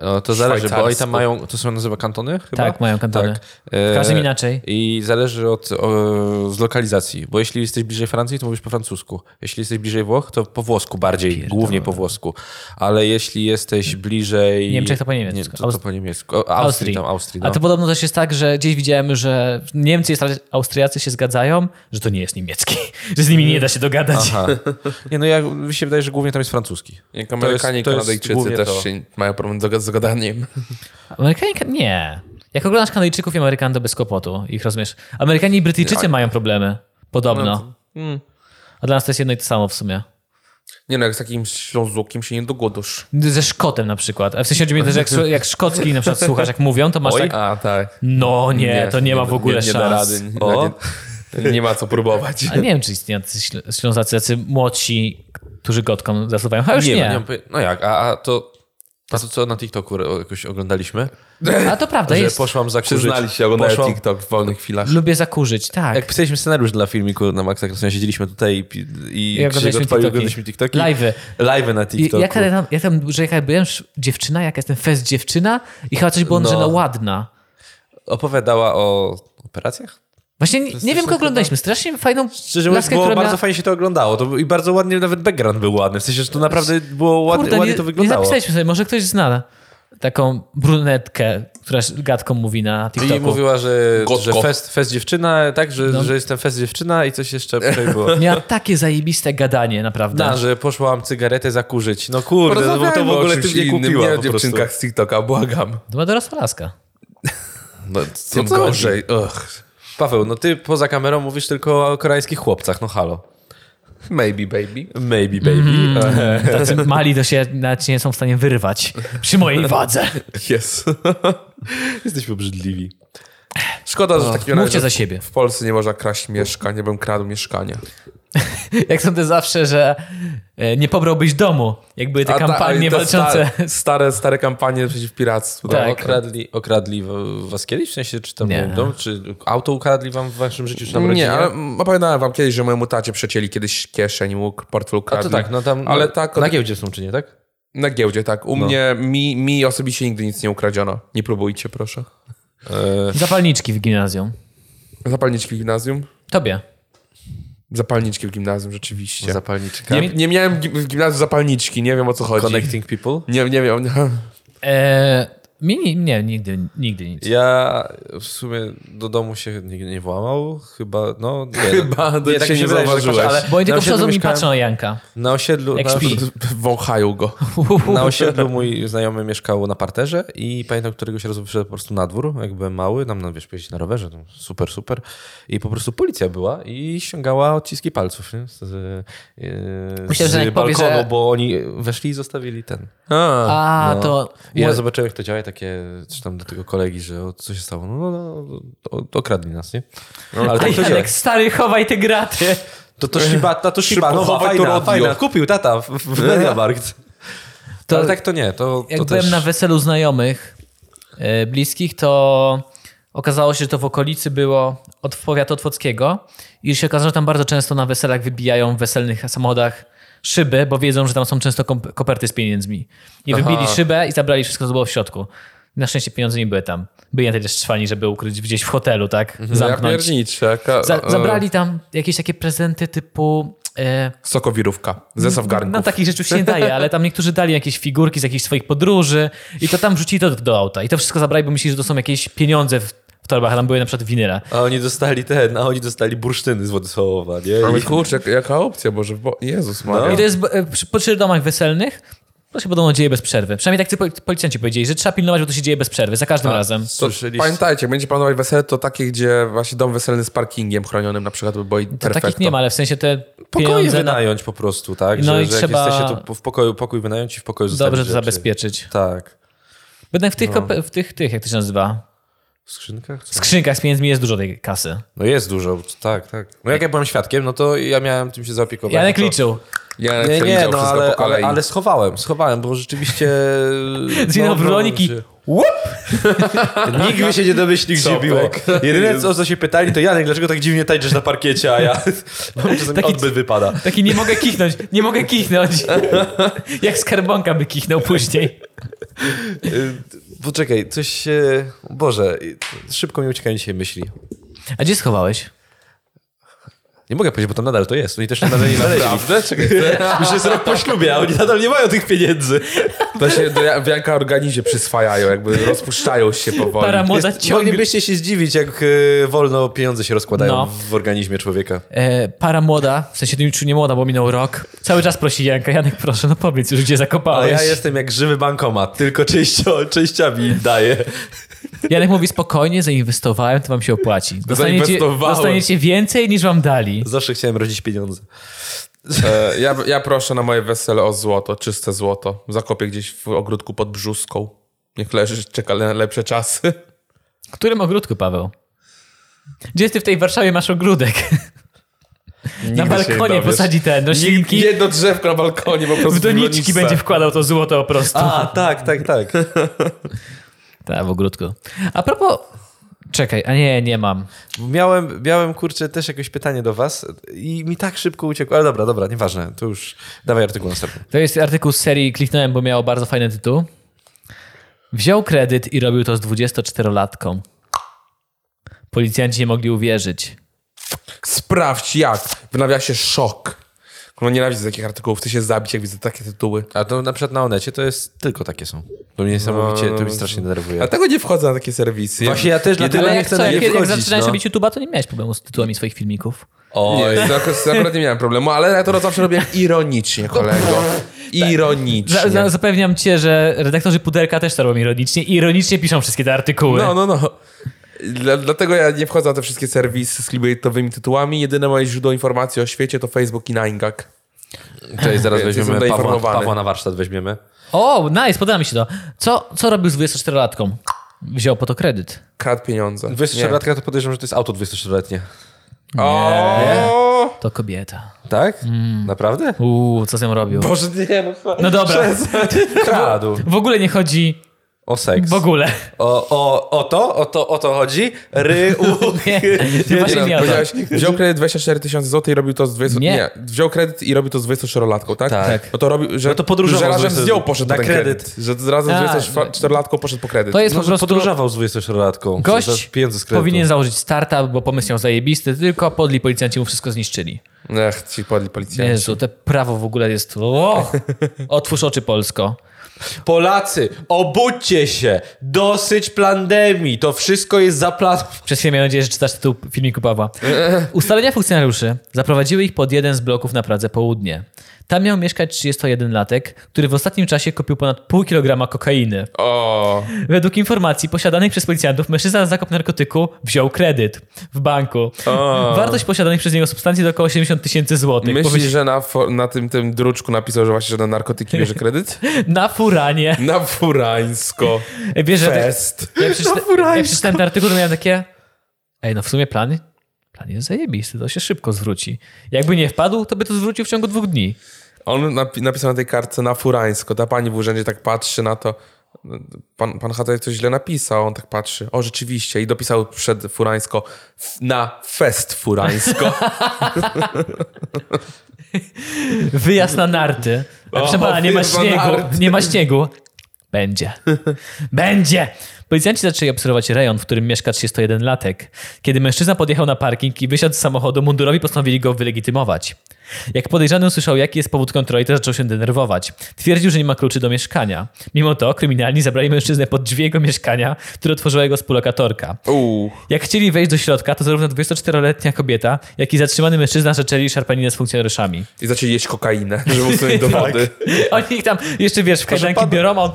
S2: No, to zależy, bo
S3: Szwajcarsku.
S2: oni tam mają, to są nazywa kantony chyba?
S1: Tak, mają kantony.
S2: E,
S1: W każdym inaczej.
S2: I zależy od o, z lokalizacji, bo jeśli jesteś bliżej Francji, to mówisz po francusku. Jeśli jesteś bliżej Włoch, to po włosku bardziej, głównie po włosku. Ale jeśli jesteś bliżej...
S1: Niemczech, to po niemiecku.
S2: Nie, to, to
S1: Aust-
S2: po niemiecku. O, Austrii, Austrii. Tam, Austrii no.
S1: A to podobno też jest tak, że gdzieś widziałem, że Niemcy i Austra- Austriacy się zgadzają, że to nie jest niemiecki. Że z nimi nie da się dogadać.
S2: Mm. Aha. Nie, no ja, mi się wydaje, że głównie tam jest francuski.
S3: Jak
S2: To
S3: Amerykanie
S2: jest- to
S3: i
S2: jest
S3: Kanadyjczycy
S2: głównie
S3: też
S2: to.
S3: się mają problem z z gadaniem.
S1: Amerykanie? Nie. Jak oglądasz Kanadyjczyków i Amerykan, to bez kłopotu. Ich rozumiesz. Amerykanie i Brytyjczycy mają problemy. Podobno. A dla nas to jest jedno i to samo w sumie.
S3: Nie no, jak z takim ślązukiem się nie dogodusz.
S1: Ze Szkotem na przykład. A w sensie chodzi mi też, jak, jak szkocki na przykład słuchasz, jak mówią, to masz
S3: Oj,
S1: tak...
S3: a tak.
S1: No nie, to nie, ma w ogóle
S3: nie, nie
S1: szans.
S3: Da rady, nie,
S2: O.
S3: nie, nie ma co próbować.
S1: Ale nie wiem, czy istnieją tacy śl- Ślązacy tacy młodsi, którzy gotkom zasuwają. A już nie.
S2: Nie, nie mam poje- no jak, a, a to... A to co na TikToku ro- jakoś oglądaliśmy?
S1: A to prawda,
S2: że
S1: jest.
S2: poszłam zakurzyć.
S3: Przyznali się, oglądają
S2: Poszłam-
S3: TikTok w wolnych chwilach.
S1: Lubię zakurzyć, tak.
S2: Jak pisaliśmy scenariusz dla filmiku na Maxa Krasna, siedzieliśmy tutaj i, pi- i
S1: I
S2: Krzysiek
S1: oglądaliśmy
S2: odpalił,
S1: TikToki.
S2: oglądaliśmy TikToki.
S1: Live'y.
S2: Live'y na
S1: I,
S2: TikToku.
S1: ja, kiedy tam, ja tam, że jaka byłem sz- dziewczyna, jaka jestem fest dziewczyna i chyba coś było,
S2: No.
S1: że no ładna.
S2: Opowiadała o operacjach?
S1: Właśnie nie, nie wiem, kogo oglądaliśmy. Strasznie fajną
S2: Szczerze mówiąc,
S1: laskę,
S2: było
S1: która
S2: bardzo
S1: miała...
S2: fajnie się to oglądało. To, był- I bardzo ładnie, nawet background był ładny. W sensie, że to naprawdę było ładnie,
S1: Kurde,
S2: ładnie
S1: nie,
S2: to
S1: nie
S2: wyglądało.
S1: zapisaliśmy sobie, może ktoś zna taką brunetkę, która sz- gadką mówi na TikToku.
S2: I mówiła, że,
S3: Gotko.
S2: że fest, fest dziewczyna, tak, że, że jestem fest dziewczyna i coś jeszcze tutaj było.
S1: Miała takie zajebiste gadanie, naprawdę.
S2: Da, że poszłam cygaretę zakurzyć. No kurde, no bo to
S3: Porozmawiajmy
S2: w
S3: o
S2: ogóle
S3: czymś
S2: ty mnie
S3: innym,
S2: kupiła
S3: Nie o
S2: po prostu.
S3: dziewczynkach z TikToka, błagam.
S1: To była dorosła laska.
S2: No,
S3: Tym
S2: co
S3: gorzej. Ugh.
S2: Paweł, no ty poza kamerą mówisz tylko o koreańskich chłopcach, no halo.
S3: Maybe, baby.
S2: Maybe, baby. E,
S1: Tacy mali to się nawet nie są w stanie wyrwać przy mojej wadze.
S3: Yes.
S2: Jesteśmy obrzydliwi.
S3: Szkoda, że w takim
S1: Mówcie
S3: razie
S1: za siebie.
S3: w Polsce nie można kraść mieszkań, nie bym kradł mieszkania.
S1: Jak sądzę zawsze, że e, nie pobrałbyś domu, jak były te
S3: A ta-
S1: kampanie
S3: i te
S1: walczące.
S3: Stare, stare, stare kampanie przeciw piractwu.
S1: Tak.
S2: No, okradli, okradli w- was kiedyś? W sensie, czy tam
S1: Nie.
S2: nie. dom, czy auto ukradli wam w waszym życiu, czy tam rodzinie?
S3: Nie, ale mm, opowiadałem wam kiedyś, że mojemu tacie przecięli kiedyś kieszeń, łuk, portfel
S2: A
S3: kradli.
S2: to tak, no tam
S3: Ale
S2: no,
S3: tak,
S2: na
S3: na,
S2: giełdzie są, czy nie, tak?
S3: giełdzie, tak. U mnie, mi, mi osobiście nigdy nic nie ukradziono. Nie próbujcie, proszę.
S2: E,
S1: Zapalniczki w gimnazjum.
S3: Zapalniczki w gimnazjum?
S1: Tobie.
S3: Zapalniczki w gimnazjum, rzeczywiście.
S2: zapalniczka.
S3: nie, nie miałem gi- w gimnazjum zapalniczki, nie wiem o co chodzi.
S2: Connecting people.
S3: Nie, nie wiem.
S1: E, mi nie, nie, nigdy, nigdy nic.
S2: Ja w sumie do domu się nie, nie włamał, chyba, no nie.
S3: Chyba, do
S2: nie, tak
S3: dzisiaj
S2: mi
S3: nie
S2: wydaje, że tak
S3: zauważyłeś.
S2: patrzę,
S1: Bo oni
S2: na
S1: tylko
S2: osiedlu
S1: przychodzą i
S2: mieszkałem-
S1: patrzą na Janka.
S2: Na osiedlu,
S1: Jak
S2: na,
S1: śpi.
S3: Wąchają go.
S2: na osiedlu mój znajomy mieszkał na parterze i pamiętam któregoś razu wyszedł po prostu na dwór, jak byłem mały, tam, no wiesz, pojeździć na rowerze, no, super, super. I po prostu policja była i ściągała odciski palców, nie? Z, z,
S1: Myślę,
S2: z
S1: że jak powie,
S2: balkonu,
S1: że-
S2: bo oni weszli i zostawili ten.
S3: A,
S1: A,
S2: No.
S1: to...
S2: I ja zobaczyłem, jak to działa i takie, czy tam do tego kolegi, że o, co się stało? No, no, no o- okradli nas, nie? Ale
S1: Ej,
S2: tak to działa.
S1: Janek, stary, chowaj te graty.
S2: To to Shibata, to
S3: Szybko
S2: Shibata,
S3: chowaj, to
S2: fajna,
S3: rodio.
S2: fajna. Kupił tata w, w Mediamarkt.
S1: To-
S2: Ale tak to nie, to,
S1: Jak
S2: to
S1: byłem
S2: też...
S1: na weselu znajomych e, bliskich, to okazało się, że to w okolicy było od powiatu otwockiego i się okazało, że tam bardzo często na weselach wybijają w weselnych samochodach szyby, bo wiedzą, że tam są często kom- koperty z pieniędzmi. I
S3: Aha.
S1: wybili szybę i zabrali wszystko, co było w środku. Na szczęście pieniądze nie były tam. Byli na tyle szczwani, żeby ukryć gdzieś w hotelu, tak?
S2: Mhm.
S3: No,
S2: No
S3: ja
S1: Zamknąć.
S3: pierniczę. Jaka,
S1: Za,
S3: e,
S1: zabrali tam jakieś takie prezenty typu... E,
S3: Sokowirówka. Zestaw garnków.
S1: no takich rzeczy już się nie daje, ale tam niektórzy dali jakieś figurki z jakichś swoich podróży i to tam wrzucili to do auta. I to wszystko zabrali, bo myśleli, że to są jakieś pieniądze w, w torbach, a tam były na przykład winyle.
S2: A oni dostali ten, a oni dostali bursztyny z Władysławowa, nie?
S3: Ale
S2: I...
S3: kurczę, jak- jaka opcja, Boże. Bo... Jezus
S2: No.
S3: Maria.
S1: I to jest e, przy- po czterech domach weselnych, to się podobno dzieje bez przerwy. Przynajmniej tak ci pol- policjanci powiedzieli, że trzeba pilnować, bo to się dzieje bez przerwy, za
S2: Tak.
S1: każdym razem.
S3: To
S2: Słyszeliście?
S3: Pamiętajcie, jak będzie planować wesele, to takie, gdzie właśnie dom weselny z parkingiem chronionym na przykład, by było i
S1: To takich nie ma, ale w sensie te
S2: Pokoje
S1: pieniądze no, na...
S2: wynająć po prostu, tak?
S1: No
S2: że,
S1: i
S2: że
S1: trzeba-
S2: jak jesteście, to w pokoju, pokój wynająć i w pokoju zostawić
S1: dobrze to
S2: rzeczy. No.
S1: zabezpieczyć.
S2: Tak.
S1: Jednak w tych, kope- w tych, tych, jak to się nazywa,
S2: W skrzynkach? Co?
S1: skrzynkach z pieniędzmi jest dużo tej kasy.
S2: No jest dużo, tak, tak. No jak ja byłem świadkiem, no to ja miałem tym się zaopiekować. no
S1: Janek
S2: to...
S1: liczył.
S3: Ja
S2: Nie, nie, no ale, ale,
S3: po kolei.
S2: ale schowałem, schowałem, bo rzeczywiście...
S1: Zginął
S2: no,
S1: bronik i-
S2: się- Nikt by się nie domyślił,
S3: Co,
S2: gdzie było.
S3: Pek?
S2: Jedyne, co- o co się pytali, to Janek, dlaczego tak dziwnie tańczysz na parkiecie, a ja... Bo mi czasami
S1: Taki-
S2: odbyt wypada.
S1: Taki nie mogę kichnąć, nie mogę kichnąć. Jak skarbonka by kichnął później.
S2: Y, Poczekaj, coś się... Boże, y, szybko mi uciekają dzisiaj myśli.
S1: A gdzie schowałeś?
S2: Nie mogę powiedzieć, bo tam nadal to jest. Oni też nadal nie znaleźli.
S3: Prawda? Czekaj,
S2: Już jest rok po ślubie, a oni nadal nie mają tych pieniędzy.
S3: to się do ja- wianka organizie przyswajają, jakby rozpuszczają się powoli.
S1: Para młoda
S2: Jest,
S1: ciągle...
S2: moglibyście się zdziwić, jak y, wolno pieniądze się rozkładają
S1: No.
S2: w organizmie człowieka.
S1: E, para młoda, w sensie już nie młoda, bo minął rok. Cały czas prosi Janka, Janek proszę, no powiedz już gdzie
S2: A
S1: zakopałeś.
S2: ja jestem jak żywy bankomat, tylko częścio, częściami daję.
S1: Janek mówi spokojnie, zainwestowałem, to wam się opłaci. Dostaniecie,
S3: Zainwestowałem.
S1: dostaniecie więcej niż wam dali.
S2: Zawsze chciałem rodzić pieniądze.
S3: E, ja, ja proszę na moje wesele o złoto, czyste złoto. Zakopię gdzieś w ogródku pod brzuską. Niech leży, czeka na lepsze czasy.
S1: W którym ogródku, Paweł? Gdzie ty w tej Warszawie masz ogródek? Na balkonie posadzi te noślinki,
S3: Jedno drzewko na balkonie po prostu.
S1: w doniczki
S3: loniczce.
S1: będzie wkładał to złoto po prostu.
S2: A, tak, tak, tak.
S1: Tak, w ogródku. A propos. Czekaj, a nie, nie mam.
S2: Miałem, miałem, kurczę, też jakieś pytanie do was i mi tak szybko uciekło. Ale dobra, dobra, nieważne, to już dawaj artykuł następny.
S1: To jest artykuł z serii, kliknąłem, bo miało bardzo fajny tytuł. Wziął kredyt i robił to z 24-latką. Policjanci nie mogli uwierzyć.
S3: Sprawdź jak. W nawiasie szok. No nienawidzę takich artykułów. Chcę się zabić, jak widzę takie tytuły.
S2: A to na przykład na Onecie to jest, tylko takie są. To mnie niesamowicie, to mnie strasznie denerwuje.
S3: Dlatego nie wchodzę na takie serwisy.
S2: Właśnie ja też dlatego
S1: Ale
S2: nie
S1: jak,
S2: chcę
S1: co,
S2: na
S1: jak,
S2: nie
S1: jak
S2: wchodzić.
S1: zaczynałeś
S2: no.
S1: robić YouTube'a, to nie miałeś problemu z tytułami swoich filmików.
S2: Oj,
S3: Nie, to ak- to akurat nie miałem problemu, ale ja to zawsze robiłem ironicznie, kolego.
S2: Tak.
S3: Ironicznie.
S1: Za, za, zapewniam cię, że redaktorzy Puderka też to robią ironicznie i ironicznie piszą wszystkie te artykuły.
S3: No, no, no. Dla, dlatego ja nie wchodzę na te wszystkie serwisy z clickbaitowymi tytułami. Jedyne moje źródło informacji o świecie to Facebook i 9gag.
S2: Cześć, zaraz
S3: Więc
S2: weźmiemy
S3: jestem
S2: Pawła,
S3: zainformowany.
S2: Pawła na warsztat weźmiemy.
S1: O, nice, podoba mi się to. Co, co robił z 24-latką? Wziął po to kredyt.
S3: Kradł pieniądze.
S2: 24-latka to podejrzewam, że to jest auto 24-letnie.
S3: Nie. O!
S1: To kobieta.
S2: Tak? Naprawdę?
S1: Uuu, co z nią robił?
S3: Boże, nie, no co?
S1: No dobra,
S2: Kradł.
S1: w ogóle nie chodzi...
S2: O seks.
S1: W ogóle.
S2: O, o, o to? O to, o to chodzi? Ry, u,
S1: Nie,
S2: nie,
S1: właśnie
S3: Nie,
S1: nie o to.
S3: no, powiedziałeś, wziął kredyt 24 tysiące złotych i robił to z 20...
S1: Nie.
S3: Nie. wziął kredyt i robił to z 24-latką, tak?
S2: Tak.
S3: No to robił, że,
S2: No to podróżował
S3: że
S2: z
S3: razem z nią
S2: 24
S3: poszedł
S2: na
S3: na ten
S2: kredyt. Tak.
S3: kredyt. Że razem
S1: A,
S3: z 24-latką poszedł po kredyt.
S1: To jest
S2: no,
S1: po
S2: że
S1: prostu...
S2: podróżował z 24-latką.
S1: Gość
S2: pieniądze z kredytu.
S1: powinien założyć startup, bo pomysł miał zajebisty, tylko podli policjanci mu wszystko zniszczyli.
S3: Ech, ci podli policjanci.
S1: Jezu, te prawo w ogóle jest... O! Otwórz oczy, Polsko.
S2: Polacy, obudźcie się! Dosyć pandemii! To wszystko jest zaplanowane.
S1: Przez chwilę miałem nadzieję, że czytasz tytuł filmiku Pawła. Ustalenia funkcjonariuszy zaprowadziły ich pod jeden z bloków na Pradze Południe. Tam miał mieszkać 31-latek, który w ostatnim czasie kupił ponad pół kilograma kokainy.
S3: O,
S1: Według informacji posiadanych przez policjantów mężczyzna na zakup narkotyku wziął kredyt w banku. Wartość posiadanych przez niego substancji to około 70 tysięcy złotych.
S3: myślisz,
S1: Powiedz-
S3: że na, fo- na tym, tym druczku napisał, że właśnie, że na narkotyki bierze kredyt?
S1: Na furanie.
S3: Na furańsko.
S1: Bierze...
S3: Fest.
S1: Ja, przeczyta... ja
S3: furańsko.
S1: przeczytałem ten artykuł, to miałem takie... Ej, no w sumie plan... Plan jest zajebisty, to się szybko zwróci. Jakby nie wpadł, to by to zwrócił w ciągu dwóch dni.
S3: On napi- napisał na tej kartce na furańsko. Ta pani w urzędzie tak patrzy na to. Pan, pan Hataj coś źle napisał, on tak patrzy. O, rzeczywiście. I dopisał przed furańsko f- na fest furańsko.
S1: Wyjazd na narty. Proszę pana, nie ma
S3: wyjazd na
S1: śniegu.
S3: narty.
S1: Nie ma śniegu. Będzie. Będzie! Policjanci zaczęli obserwować rejon, w którym mieszka 31-latek. Kiedy mężczyzna podjechał na parking i wysiadł z samochodu, mundurowi postanowili go wylegitymować. Jak podejrzany usłyszał, jaki jest powód kontroli, to zaczął się denerwować. Twierdził, że nie ma kluczy do mieszkania. Mimo to kryminalni zabrali mężczyznę pod drzwi jego mieszkania, które otworzyła jego współlokatorka.
S3: Uuu.
S1: Jak chcieli wejść do środka, to zarówno 24-letnia kobieta, jak i zatrzymany mężczyzna zaczęli szarpaninę z funkcjonariuszami.
S3: I zaczęli jeść kokainę, żeby usunąć
S2: Tak.
S3: dowody.
S1: Oni ich tam jeszcze wiesz, w kajdanki biorą, a on.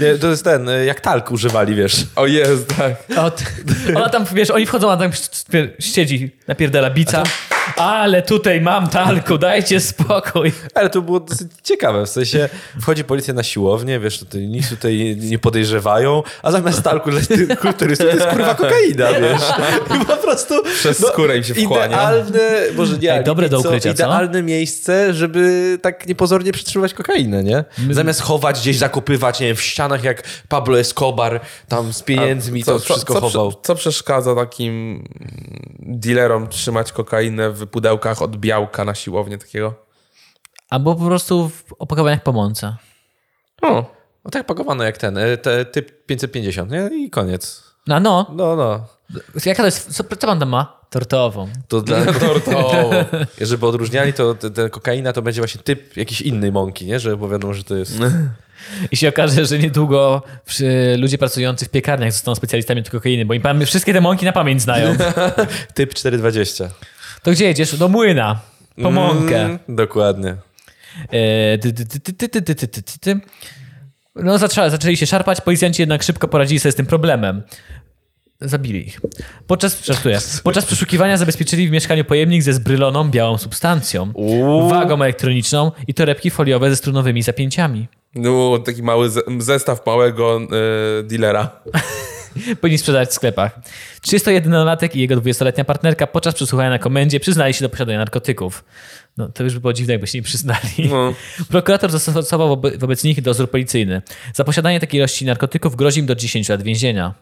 S2: Nie, to jest ten, y, jak talk używali, wiesz.
S3: O jest, tak.
S1: Od, ona tam, wiesz, oni wchodzą, a tam siedzi, napierdala bica. Ale tutaj mam talku, dajcie spokój.
S2: Ale to było dosyć ciekawe, w sensie wchodzi policja na siłownię, wiesz, tutaj nic tutaj nie podejrzewają, a zamiast talku dla tych kulturystów to jest kurwa kokaina, wiesz. I po prostu... no,
S3: Przez skórę im się wchłania.
S2: Idealne, może nie,
S1: Ej, dobre do ukrycia, co?
S2: Idealne miejsce, żeby tak niepozornie przetrzymywać kokainę, nie? Zamiast chować gdzieś, zakopywać, nie wiem, w ścianach jak Pablo Escobar tam z pieniędzmi to wszystko
S3: co,
S2: chował.
S3: Co przeszkadza takim mm, dealerom trzymać kokainę w pudełkach od białka na siłownię takiego?
S1: Albo po prostu w opakowaniach po mące.
S3: O,
S2: No tak pakowane jak ten, e, te, typ 550, nie? I koniec.
S1: No, no.
S2: No, no.
S1: Jaka to jest. Co, co pan tam ma? Tortową.
S2: To dla,
S3: tortowo.
S2: żeby odróżniali, to te, te kokaina to będzie właśnie typ jakiejś innej mąki, nie? Że powiadomo, że to jest...
S1: I się okaże, że niedługo przy, ludzie pracujący w piekarniach zostaną specjalistami od kokainy, bo im pan, wszystkie te mąki na pamięć znają.
S2: Typ 420.
S1: To gdzie jedziesz? Do młyna. Po mąkę.
S2: Mm, dokładnie.
S1: E, ty, ty, ty, ty, ty, ty, ty, ty, ty, ty. No, zaczę- zaczęli się szarpać, policjanci jednak szybko poradzili sobie z tym problemem. Zabili ich. Podczas, żartuję, podczas przeszukiwania zabezpieczyli w mieszkaniu pojemnik ze zbryloną białą substancją, wagą elektroniczną i torebki foliowe ze strunowymi zapięciami.
S3: no, taki mały ze- zestaw małego y, dealera.
S1: Powinni sprzedać w sklepach. 31-latek i jego 20-letnia partnerka podczas przesłuchania na komendzie przyznali się do posiadania narkotyków. No, to już by było dziwne, jakby się nie przyznali.
S3: No.
S1: Prokurator zastosował wobe- wobec nich dozór policyjny. Za posiadanie takiej ilości narkotyków grozi im do 10 lat więzienia.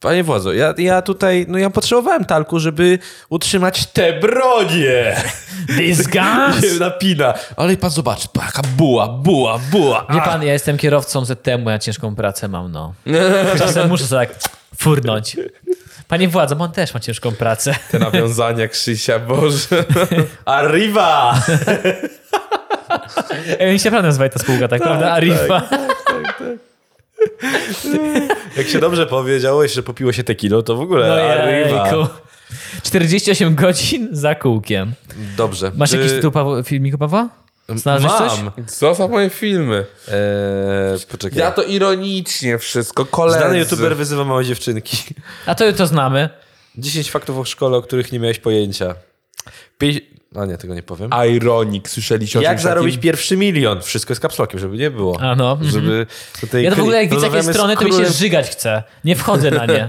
S2: Panie władzo, ja, ja tutaj, no ja potrzebowałem talku, żeby utrzymać te bronie! Się
S1: Disgust!
S2: napina. Ale pan zobacz, taka buła, buła, buła.
S1: Wie pan, ja jestem kierowcą ZTM-u, ja ciężką pracę mam, no. Czasem muszę sobie tak furnąć. Panie władzo, on też ma ciężką pracę.
S3: Te nawiązania Krzysia, Boże.
S2: Arriva!
S1: Ej, oni się naprawdę nazywa ta spółka, tak, prawda? Arifa.
S2: Jak się dobrze powiedziało, jeszcze popiło się tequilą, to w ogóle
S1: No
S2: arriva.
S1: jejku. 48 godzin za kółkiem.
S2: Dobrze.
S1: Masz jakiś
S2: Y,
S1: tytuł Paweł, filmiku Pawła? Znalazłeś coś?
S2: Mam.
S3: Co za moje filmy?
S2: Eee, poczekaj.
S3: Ja to ironicznie wszystko, koledzy.
S2: Znany youtuber wyzywa małe dziewczynki.
S1: A to to znamy.
S2: 10 faktów o szkole, o których nie miałeś pojęcia. Pięć... A nie, tego nie powiem.
S3: Ironic, słyszeliście o
S2: Jak
S3: czymś
S2: zarobić
S3: takim?
S2: pierwszy milion? Wszystko jest kapslokiem, żeby nie było.
S1: A no, mhm.
S2: Żeby tutaj
S1: Ja to w ogóle jak
S2: kli-
S1: widzę jakieś
S2: rozmawiamy z
S1: strony, to mi się
S2: królem
S1: żygać chce. Nie wchodzę na nie.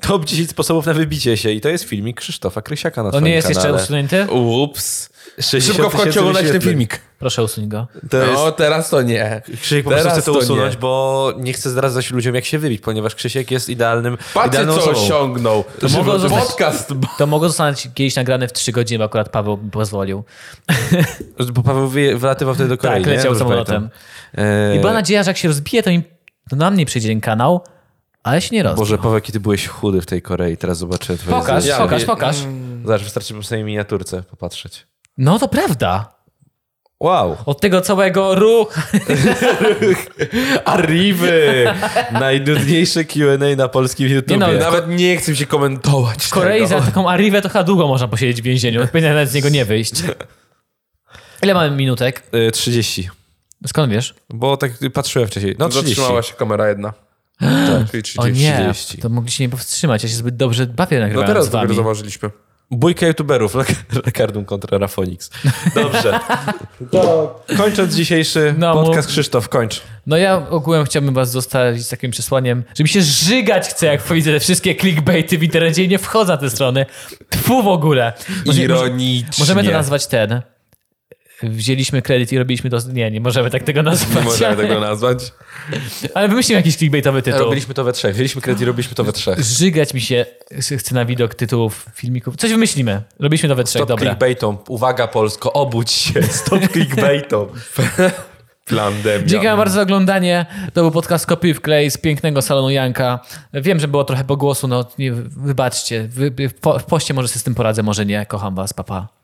S2: Top 10 sposobów na wybicie się. I to jest filmik Krzysztofa Krysiaka na
S1: On
S2: swoim
S1: nie jest jeszcze
S2: kanale.
S1: usunięty?
S3: Ups.
S2: 60
S3: Szybko w końcu
S2: tysięcy
S3: oglądać ten
S2: wyświetleń.
S3: filmik.
S1: Proszę usuń go.
S2: To jest...
S3: No, teraz to nie.
S2: Krzysiek po prostu
S3: Teraz
S2: chce to,
S3: to
S2: usunąć,
S3: nie.
S2: bo nie chce zdradzać ludziom, jak się wybić, ponieważ Krzysiek jest idealnym,
S3: Patrzcie,
S2: idealną
S3: co
S2: osobą.
S3: osiągnął. To
S1: mogło zostać-
S3: podcast.
S1: To mogło zostać kiedyś nagrane w 3 godziny, bo akurat Paweł mi pozwolił.
S2: Bo Paweł wyje- wylatywał wtedy do Korei,
S1: Tak, leciał
S2: nie? Dobrze
S1: samolotem.
S2: pamiętam. E,
S1: I była nadzieja, że jak się rozbije, to, im, to na mnie przyjdzie ten kanał, ale się nie rozbił.
S2: Boże, Paweł, kiedy byłeś chudy w tej Korei, teraz zobaczę twoje
S1: Pokaż,
S2: zdjęcia.
S1: pokaż, pokaż.
S2: Zobacz, wystarczy po sobie miniaturce popatrzeć.
S1: No to prawda.
S2: Wow!
S1: Od tego całego ruch.
S2: Arriwy! Najnudniejsze Q&A na polskim YouTubie.
S1: Nie no, na-
S3: Nawet nie chcę się komentować.
S1: W Korei
S3: tego.
S1: za taką arriwę to chyba długo można posiedzieć w więzieniu. Powinien nawet z niego nie wyjść. Ile mamy minutek?
S2: E, 30.
S1: Skąd wiesz?
S2: Bo tak patrzyłem wcześniej. No 30.
S3: Zatrzymała się kamera jedna. Tak, czyli
S1: O
S3: 30.
S1: nie,
S2: 30.
S1: to mogliście nie powstrzymać. Ja się zbyt dobrze bawię
S3: No
S1: nagrywając
S3: teraz
S1: z wami.
S3: dopiero zauważyliśmy.
S2: Bójka youtuberów. Lekardum kontra Rafonix. Dobrze. Kończąc dzisiejszy
S1: No,
S2: podcast,
S1: mów.
S2: Krzysztof, kończ.
S1: No ja ogółem chciałbym was zostawić z takim przesłaniem, że mi się żygać chce, jak widzę te wszystkie clickbaity w internecie i nie wchodzę na te strony. Tfu w ogóle. Może-
S3: Ironicznie.
S1: Możemy to nazwać ten. Wzięliśmy kredyt i robiliśmy to... Nie, nie możemy tak tego
S3: Nie
S1: nazwać.
S3: można
S1: ale,
S3: tego nazwać.
S1: ale wymyślimy jakiś clickbaitowy tytuł.
S2: Robiliśmy to we trzech. Wzięliśmy kredyt i robiliśmy to we trzech.
S1: Żygać mi się chce na widok tytułów filmików. Coś wymyślimy. Robiliśmy to we trzech,
S2: Stop
S1: dobra.
S2: clickbaitom. Uwaga Polsko, obudź się. Stop clickbaitom.
S3: Plandemia.
S1: Dziękuję wam bardzo za oglądanie. To był podcast Kopiuj w klej z pięknego salonu Janka. Wiem, że było trochę pogłosu, no nie, wybaczcie. Wy, wy- po, w poście może sobie z tym poradzę, może nie. Kocham was, papa. Pa.